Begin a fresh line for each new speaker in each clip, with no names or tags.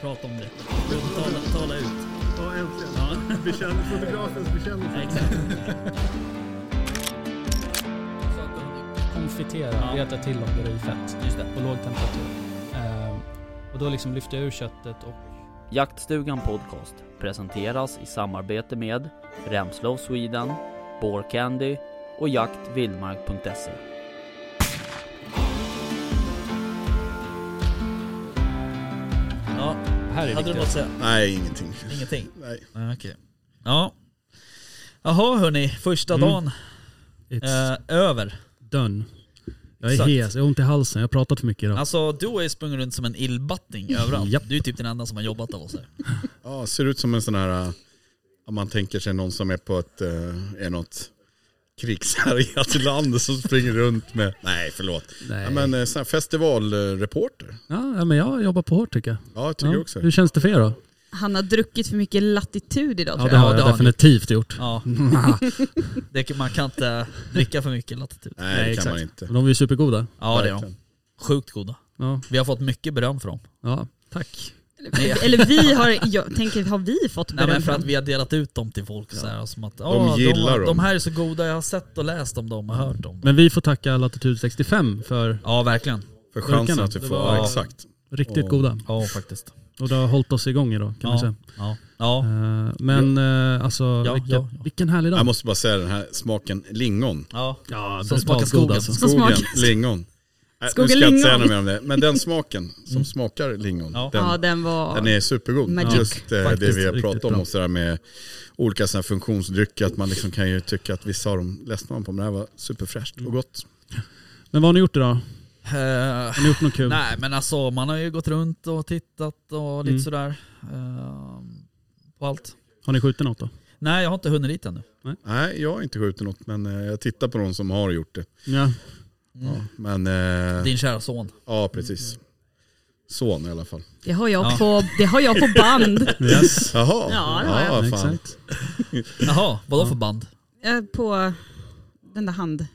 Prata om det. Tala, tala ut.
Ja, äntligen.
Ja,
Bekänn, fotografens bekännelse.
exakt.
Konfitera,
Ja.
veta till om det är i fett
Just det.
på låg temperatur. Ehm, och då liksom lyfter jag ur köttet och
Jaktstugan Podcast presenteras i samarbete med Remslow Sweden, Candy och jaktvildmark.se.
Ja,
här är
hade du
viktigt.
något att säga?
Nej, ingenting.
Ingenting?
Nej.
Nej, Okej. Ja. Jaha hörni, första
Mm.
dagen
It's
eh, över.
done. Jag är
exakt.
hes, jag har ont i halsen, jag har pratat för mycket idag.
Alltså du har ju sprungit runt som en illbatting överallt.
Japp.
Du är typ den enda som har jobbat av oss här.
Ja, ser ut som en sån här, äh, om man tänker sig någon som är på ett, äh, är något krigshärjat land som springer runt med, nej förlåt,
Nej.
Ja, men äh, sån här festivalreporter.
Ja, ja, men jag jobbar på hårt tycker jag.
Ja, jag tycker
ja.
också
Hur känns det för er då?
Han har druckit för mycket latitud idag
Ja,
tror
det
jag.
har
det
jag
har ni.
definitivt gjort.
Ja. det, man kan inte dricka för mycket latitud.
Nej, det
Nej,
kan
exakt.
man inte.
Men de är ju supergoda.
Ja det är de.
Verkligen.
Sjukt goda.
Ja,
Vi har fått mycket beröm från dem.
ja. tack.
Nej.
Eller vi har, jag tänker, har vi fått
Nej men
beröm
för
för
att vi har delat ut dem till folk så här, som att "Ah, de,
gillar
de,
dem.
de här är så goda, jag har sett och läst om dem och hört om dem.
Men vi får tacka Latitude 65 för
Ja verkligen.
För chansen
Burkarna,
att vi
det
får,
var-
ja, exakt.
riktigt
Åh.
goda.
Ja faktiskt.
Och det har hållit oss igång idag kan man
Ja.
säga.
Ja. ja.
Eh, Men eh, alltså,
Ja,
vilken,
ja, ja.
vilken härlig
Jag
dag.
måste bara säga den här smaken lingon.
ja.
Ja,
Som smakar
brutalt
skogen.
god alltså.
Som
Skogen,
smakar-
lingon. Nej,
Skogen
nu ska jag inte
lingon.
säga något mer om det. Men den smaken som smakar lingon,
Ja.
Ja
den,
den var...
den är supergod.
Magic.
Just eh, det
Faktiskt
vi har
riktigt
pratat om
bra.
och sådär med olika sådana här funktionsdrycker. Att man liksom kan ju tycka att vissa av dem ledsnar man på, men det här var superfräscht
Mm.
och gott.
Men vad har ni gjort idag?
Eh,
Har ni gjort något kul?
Nej men alltså man har ju gått runt och tittat och lite
Mm.
sådär. ehm, på allt.
Har ni skjutit något då?
Nej jag har inte hunnit dit ännu.
Nej, jag har inte skjutit något, men eh, jag tittar på någon som har gjort det.
Ja.
Mm.
Ja, men, eh,
Din kära son.
ja precis. Son i alla fall.
Det, har jag
Ja.
på, det har jag på band.
Yes.
Jaha,
Ja, det har jag.
fan.
Exakt.
Jaha, vadå för band?
Eh, på den där hand...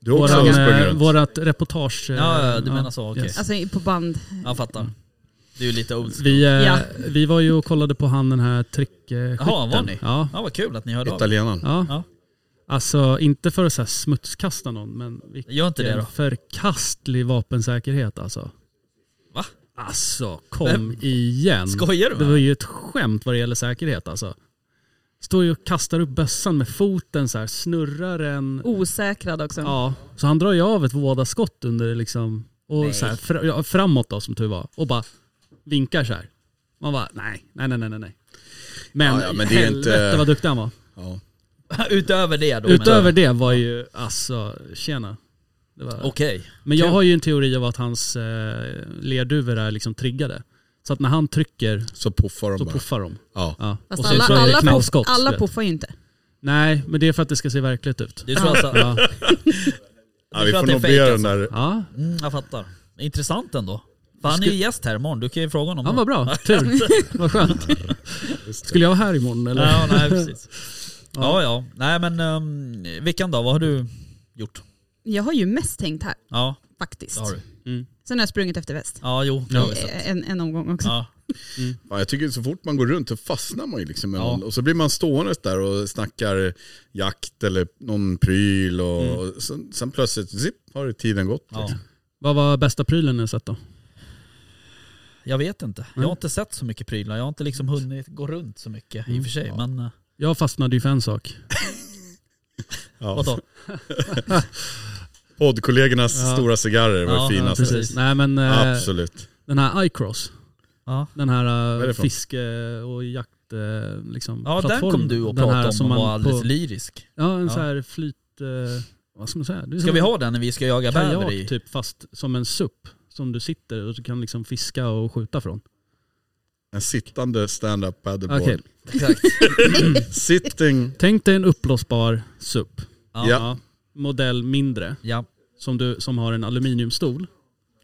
Du har också
Våran, eh,
sprungit runt.
vårat reportage. eh,
Ja, ja, du menar så, okej.
Alltså på band.
Jag fattar. Du är lite old.
Vi, eh,
Ja.
vi var ju och kollade på han den här trickskytten.
Jaha, var ni?
Ja.
Ja vad kul att ni hörde av er.
Italienaren.
ja.
Ja.
Alltså inte för att så här smutskasta någon, men vilken
Gör inte det då.
förkastlig vapensäkerhet alltså.
Va?
Alltså kom
Vem?
igen.
Skojar du
Det
med
var
mig?
ju ett skämt vad det gäller säkerhet alltså. Står ju och kastar upp bössan med foten så här, snurrar den.
Osäkrad också.
Ja, så han drar ju av ett vådaskott under liksom, och så här, fr- ja, framåt då som tur var och bara vinkar så här. Man bara nej, nej, nej, nej, nej, nej. Men,
Ja, ja, men det är
helvete
inte-
vad duktig han var.
Ja.
Utöver det då?
Utöver
men-
det var ju alltså, tjena. Det var,
Okej.
men jag
kul.
har ju en teori av att hans eh, lerduvor är liksom triggade. Så att när han trycker
Så puffar de
så
bara.
puffar de.
Ja.
Ja.
Fast
Och sen
alla,
så är det
alla, poff,
knallskott,
alla
vet.
poffar ju inte.
Nej, men det är för att det ska se verkligt ut.
Du tror alltså...
Ja,
Ja,
tror
vi får
att det är
nog
fake,
be den
alltså.
där.
ja.
Mm, jag fattar. Intressant ändå. För han är ju gäst här imorgon, du kan ju fråga honom.
Han
då.
var bra, tur. Vad skönt. Skulle jag vara här imorgon eller?
Ja, nej, precis. ja, ja. Nej men um, veckan då, vad har du gjort?
Jag har ju mest tänkt här
Ja,
faktiskt.
det har du.
Sen har jag sprungit efter väst. Eh,
Ja, jo. det har vi sett.
En, en omgång också.
Ja.
Ja, jag tycker så fort man går runt så fastnar man ju liksom med
Ja.
någon. Och så blir man stående där och snackar jakt eller någon pryl. Och,
Mm.
och sen, sen plötsligt, zipp, har tiden gått.
Ja.
Liksom.
Vad var bästa prylen ni har sett då?
Jag vet inte. Jag har
Mm.
inte sett så mycket prylar. Jag har inte liksom hunnit gå runt så mycket i och för sig.
Mm.
Men eh,
Jag fastnade ju för en sak.
vadå?
Poddkollegornas
Ja.
stora cigarrer var
Ja,
det finaste.
Precis.
Nej men eh,
Absolut.
den här iCross.
Ja.
Den här
är
eh,
det för något?
fiske och jakt eh, liksom,
Ja, den
plattformen.
kom du och
Den här
pratade om
som
och
man
var alldeles
på-
lyrisk.
Ja en
Ja.
så här flyt... Eh, vad ska man säga? Det är
Ska
som
vi
en
ha den när vi ska jaga bäver
Kajak
i?
typ fast som en SUP. Som du sitter och du kan liksom fiska och skjuta från.
En sittande stand-up paddleboard.
Okej,
Exakt.
Sitting.
tänk dig en uppblåsbar SUP.
Ja.
ja.
Ja, modell mindre.
Ja.
Som, du, som har en aluminiumstol.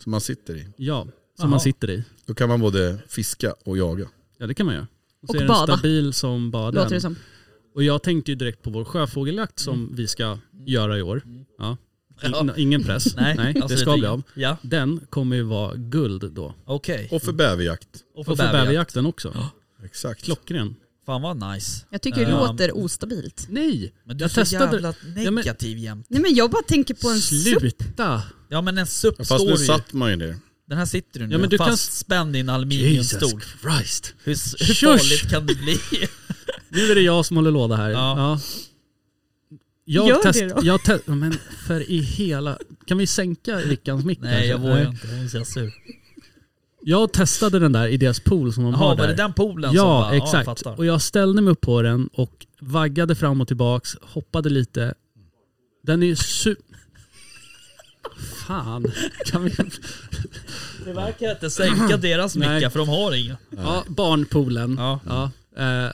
som man sitter i.
Ja, som
Jaha.
man sitter i.
Då kan man både fiska och jaga.
Ja det kan man göra. Och,
Och
så är
bada.
den stabil som bara
Låter det
den.
som.
Mm.
Och jag tänkte ju direkt på vår sjöfågeljakt som vi ska göra i år. Ja. In, ingen press.
Nej,
det
absolut
ska bli
ingen.
av.
Ja,
Den kommer ju vara guld då.
okej.
Och för bäverjakt.
Och
Och för bäverjakten också.
Exakt.
Klockren.
Fan vad nice.
Jag tycker det
Ja.
låter ostabilt.
Nej!
Men du är
Jag
så
testade-
jävla
Ja, men-
negativ jämt.
Nej men jag bara tänker på en supp.
Sluta!
Ja men en SUP
Ja, fast
står
nu
ju.
satt man ju ner.
Den här sitter du nu
Ja, men du kan-
fastspänd i en
Jesus
aluminiumstol.
Christ.
Hur, s- hur
Shush!
farligt kan det bli?
Nu är det jag som håller låda här.
Ja.
Ja. Jag
Gör det
test-
då.
Jag test- men för i hela... Kan vi sänka Rickans mick
Nej
kanske?
jag vågar inte, hon ser sur.
Jag testade den där i deras pool som de
Jaha,
har
var
där.
det den poolen som
ja,
bara, Ja, jag
exakt.
fattar.
och jag ställde mig upp på den och vaggade fram och tillbaks, hoppade lite. Den är ju super... Fan. Kan vi...
Det verkar inte sänka deras mickar
Nej.
för de har inga.
Ja, barnpoolen.
Ja.
Ja. Eh,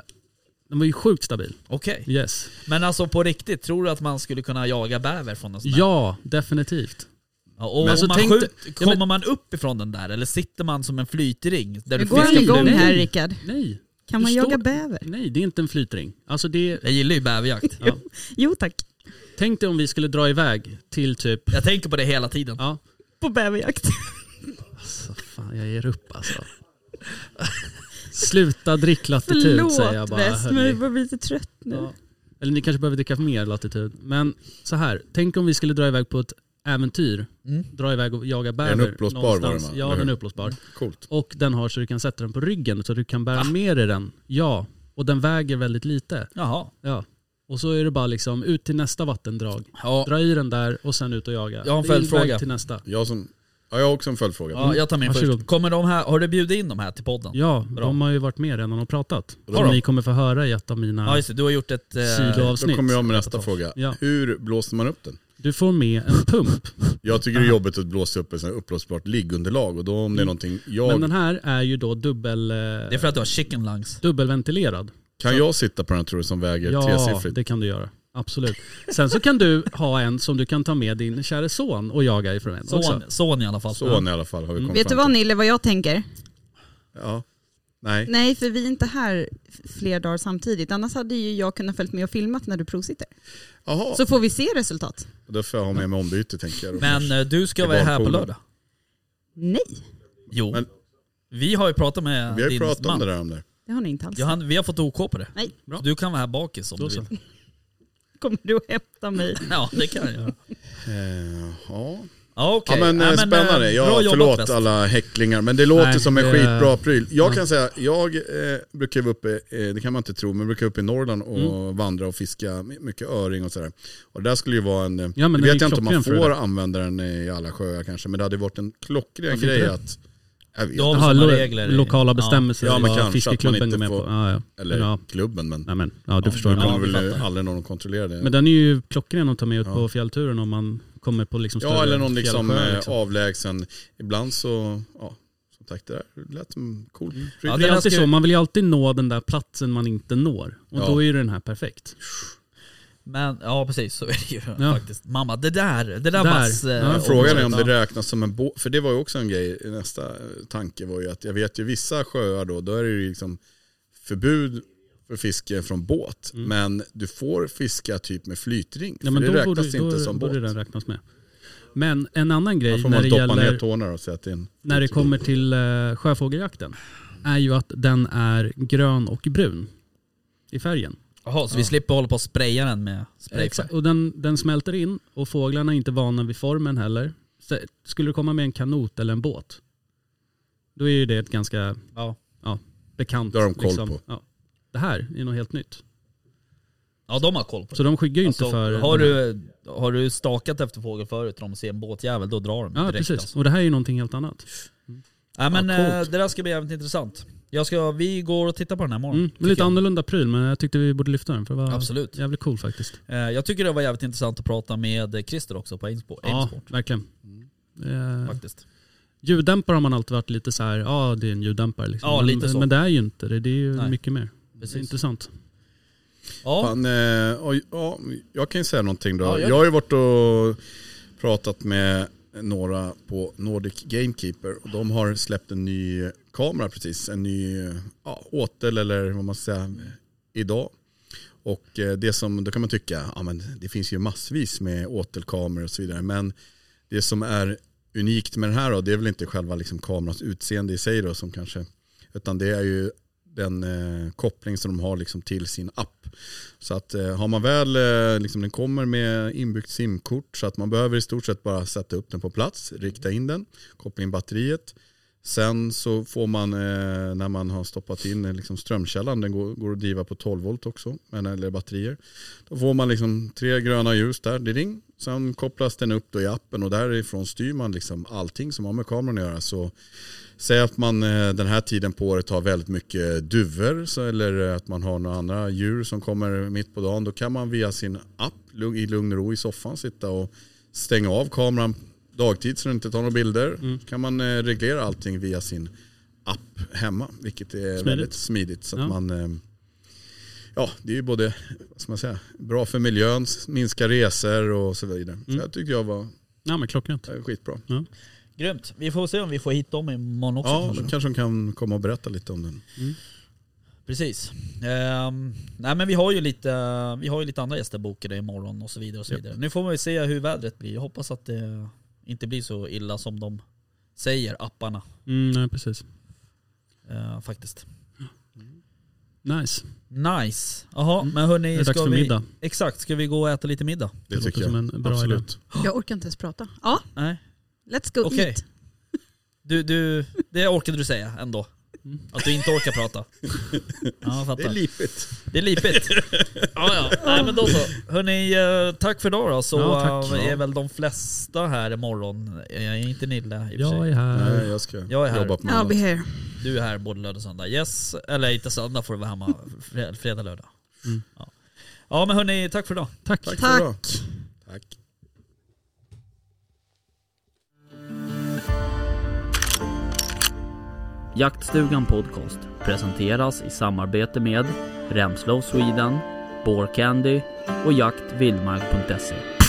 den var ju sjukt stabil.
Okej.
Yes.
Men alltså på riktigt, tror du att man skulle kunna jaga bäver från en sån där?
Ja, definitivt.
Ja, och
Men alltså,
om man
tänk
skjuter,
dig- ja,
kommer
men-
man upp ifrån den där eller sitter man som en flytring? Där
Nu
du
går han
fiskar
igång
direkt?
här Rickard.
Nej.
Kan
Du
man jaga
står-
bäver?
Nej, det är inte en flytring. Alltså det är...
Jag gillar ju bäverjakt.
Ja.
Jo tack.
Tänk dig om vi skulle dra iväg till typ...
Jag tänker på det hela tiden.
Ja.
På bäverjakt.
Så fan, jag ger upp alltså. Sluta drick latitud säger jag
Förlåt
bara.
Wes, men
hörni.
jag börjar bli lite trött nu.
Ja. Mm. Eller ni kanske behöver dricka mer latitud. Men så här, tänk om vi skulle dra iväg på ett äventyr.
Mm.
Dra iväg och jaga bäver.
Är den uppblåsbar var den,
någonstans.
va?
Ja,
Eller
den är
hur?
uppblåsbar.
Coolt.
Och den har så du kan sätta den på ryggen så du kan bära
Ah.
med dig den. Ja, och den väger väldigt lite.
Jaha.
Ja. Och så är det bara liksom ut till nästa vattendrag.
Ja,
Dra i den där och sen ut och jaga.
Jag har en
Det är
följdfråga.
väg till nästa.
Jag, som, ja, jag har också en följdfråga.
ja jag tar min först.
Varsågod.
Kommer de här, har du bjudit in de här till podden?
Ja,
Bra.
de har ju varit med redan och pratat.
Har de?
Som ni kommer få höra i ett av
Ja
mina
just det, du har gjort ett... eh,
Då
sidoavsnitt.
kommer jag med nästa fråga.
Ja.
Hur blåser man upp den?
Du får med en pump.
Jag tycker det är jobbigt att blåsa upp ett sånt här uppblåsbart liggunderlag och då om det är någonting jag...
Mm. Men den här är ju då dubbel, eh,
Det är för att du har chicken lungs.
dubbelventilerad.
kan jag sitta på den tror du som väger
alltså- Ja,
tresiffrigt?
det kan du göra. Absolut. Sen så kan du ha en som du kan ta med din kära son och jaga ifrån en också.
Son, son i alla fall.
Så i alla fall
Mm.
har vi kommit
Vet du
fram
vad
till.
Nille, vad jag tänker?
Ja. Nej.
Nej, för vi är inte här f- fler dagar samtidigt. Annars hade ju jag kunnat följt med och filmat när du provsitter.
Jaha,
Så får vi se resultat.
då får jag ha med mig ombyte tänker jag. då.
Men eh, du ska
Det
vara
var
här på
cool.
lördag?
Nej,
Jo.
Men-
vi har ju pratat med
vi har ju
din
pratat om
man.
det där om det.
det har ni inte alls.
Johan, vi har fått OK på det.
Nej.
Så Du kan vara här bakis om
Då
du
så.
vill.
Kommer du att hämta mig?
Ja, det kan jag göra.
Eh, ja.
Ja, okej.
Ja, men,
Nej,
eh, spännande.
eh,
Ja,
bra jobbat,
förlåt
West.
alla häcklingar, men det låter
Nej,
som en
det-
skitbra pryl. Jag kan säga, jag eh, brukar vara uppe, eh, det kan man inte tro, men brukar vara uppe i Norrland och vandra och fiska my- mycket öring och sådär. Och det där skulle ju vara en,
Ja,
ja,
men den
det
är
vet jag inte om man
klockren för
får använda den i alla sjöar kanske, men det hade varit en klockren
Varför inte
grej
det?
att, jag vet,
Ja,
Jaha,
sådana
lo-
regler i-
lokala
Ja.
bestämmelser.
Ja, men
vad
kanske att man
fiskeklubben
inte
går med
får-
på. Ja, ja.
eller
Men, ja.
klubben, men
Nej, men, ja, du förstår.
nu
Ja,
ja,
kommer
vi
väl
fattar.
aldrig någon att kontrollera det.
men den är ju klockren att ta med ut
Ja.
på fjällturen om man kommer på liksom
ja,
större
eller någon liksom,
fjällsjöar,
eh, avlägsen, ibland så, ja, som sagt det där lät som en cool pryl.
Ja,
Det är
den här
alltid
ska-
så, man vill ju alltid nå den där platsen man inte når. Och
Ja.
då är ju den här perfekt.
Men, ja precis, så är det ju
Ja.
faktiskt. Mamma, det där, det där,
Där.
Mats, eh,
Ja,
området,
Frågan är om det
ja.
räknas som en båt, för det var ju också en grej, nästa eh, tanke var ju att jag vet ju vissa sjöar då, då är det ju liksom förbud för fiske från båt, men du får fiska typ med flytring,
Mm. Ja,
för
men
det
då
räknas
borde,
inte
då
som båt.
borde den räknas med. Men en annan
Då
grej
får
när
man
det,
doppa ner
gäller,
tårna och säga att det är en...
när det kommer till eh, sjöfågeljakten är ju att den är grön och brun i färgen.
Jaha, så vi slipper hålla på och spraya den med sprayfärg?
Exakt. Och den, den smälter in och fåglarna är inte vana vid formen heller. Så skulle du komma med en kanot eller en båt, då är ju det ett ganska
Ja.
ja, bekant. liksom.
Då har de koll på.
Ja. Det här är något helt nytt.
Ja, de har koll på det.
Så de skyggar ju
Alltså,
inte för...
har, du, har du stakat efter fågel förut och de ser en båtjävel, då drar de
Ja,
direkt.
precis.
Alltså.
Och det här är ju någonting helt annat.
Ja, men,
Ja,
eh,
coolt.
det där ska bli jävligt intressant. Jag ska, vi går och tittar på den här morgonen.
Mm.
tycker
Lite
jag.
annorlunda pryl, men jag tyckte vi borde lyfta den för det var
Absolut.
jävligt cool faktiskt.
Eh, Jag tycker det var jävligt intressant att prata med Christer också på Aimsport.
Ja,
Aimsport
verkligen. Eh,
faktiskt.
ljuddämpare har man alltid varit lite så här, ja det är en ljuddämpare. Liksom.
Ja,
men,
lite så.
men det är ju inte det, det är ju
Nej.
mycket mer. Det är
Precis.
intressant.
Ja,
Fan, eh, och, ja, jag kan ju säga någonting då.
Ja, gör
jag har ju varit och pratat med några på Nordic Gamekeeper och de har släppt en ny kamera precis. En ny ja, åtel eller vad man ska säga idag. Och eh, det som, då kan man tycka, ja, men det finns ju massvis med åtelkameror och så vidare. Men det som är unikt med den här då, det är väl inte själva liksom kamerans utseende i sig då som kanske, utan det är ju den eh, koppling som de har liksom till sin app. Så att eh, har man väl, eh, liksom, den kommer med inbyggt simkort så att man behöver i stort sett bara sätta upp den på plats, rikta in den, koppla in batteriet. Sen så får man eh, när man har stoppat in eh, liksom strömkällan, den går, går att driva på 12 volt också, men, eller batterier. Då får man liksom tre gröna ljus där, det ring. Sen kopplas den upp då i appen och därifrån styr man liksom allting som har med kameran att göra. Så Säg att man eh, den här tiden på året har väldigt mycket duvor så- eller eh, att man har några andra djur som kommer mitt på dagen. Då kan man via sin app lug- i lugn och ro i soffan sitta och stänga av kameran dagtid så den inte tar några bilder.
Mm.
kan man eh, reglera allting via sin app hemma, vilket är väldigt smidigt. Så att
Ja.
man, eh, ja, det är ju både vad ska man säga, bra för miljön, s- minska resor och så vidare.
Mm.
Så jag tyckte jag var
Nej men klockrent.
eh, skitbra.
Grymt. Vi får se om vi får hit dem imorgon också.
Ja,
kanske.
då kanske de kan komma och berätta lite om den.
Precis. Ehm, nej men vi har, ju lite, vi har ju lite andra gäster bokade imorgon och så vidare. Och så vidare. Nu får man ju se hur vädret blir. Jag hoppas att det inte blir så illa som de säger, apparna.
Mm, nej precis.
eh, faktiskt.
Nice.
Nice. Jaha,
Mm.
men
Det
hörni.
är dags
ska
för
vi,
middag.
Exakt, ska vi gå och äta lite middag?
Det, tycker
låter
jag.
som en bra idé.
Absolut.
Jag orkar inte ens prata. Ja,
Nej.
let's go
Okej.
eat.
Du, du, det orkade du säga ändå.
Mm.
Att du inte orkar prata. Ja, jag fattar.
Det är lipigt.
Det är lipigt. ja, ja. Nej, men då så. Hörni, eh, tack för idag då. Så
Ja, tack.
eh, är väl de flesta här imorgon. Jag är inte Nilla i och för
Jag
sig.
är här.
Nej, jag ska
Jag är här.
jobba på
I'll
måndag.
be here.
Du är här både lördag och söndag. Yes, eller inte söndag får du vara hemma. Fre- Fredag, lördag.
Mm.
Ja. ja men hörni, tack för idag.
Tack.
Tack för idag.
Tack.
Tack.
Jaktstugan Podcast presenteras i samarbete med Remslow Sweden, Candy och jaktvildmark.se.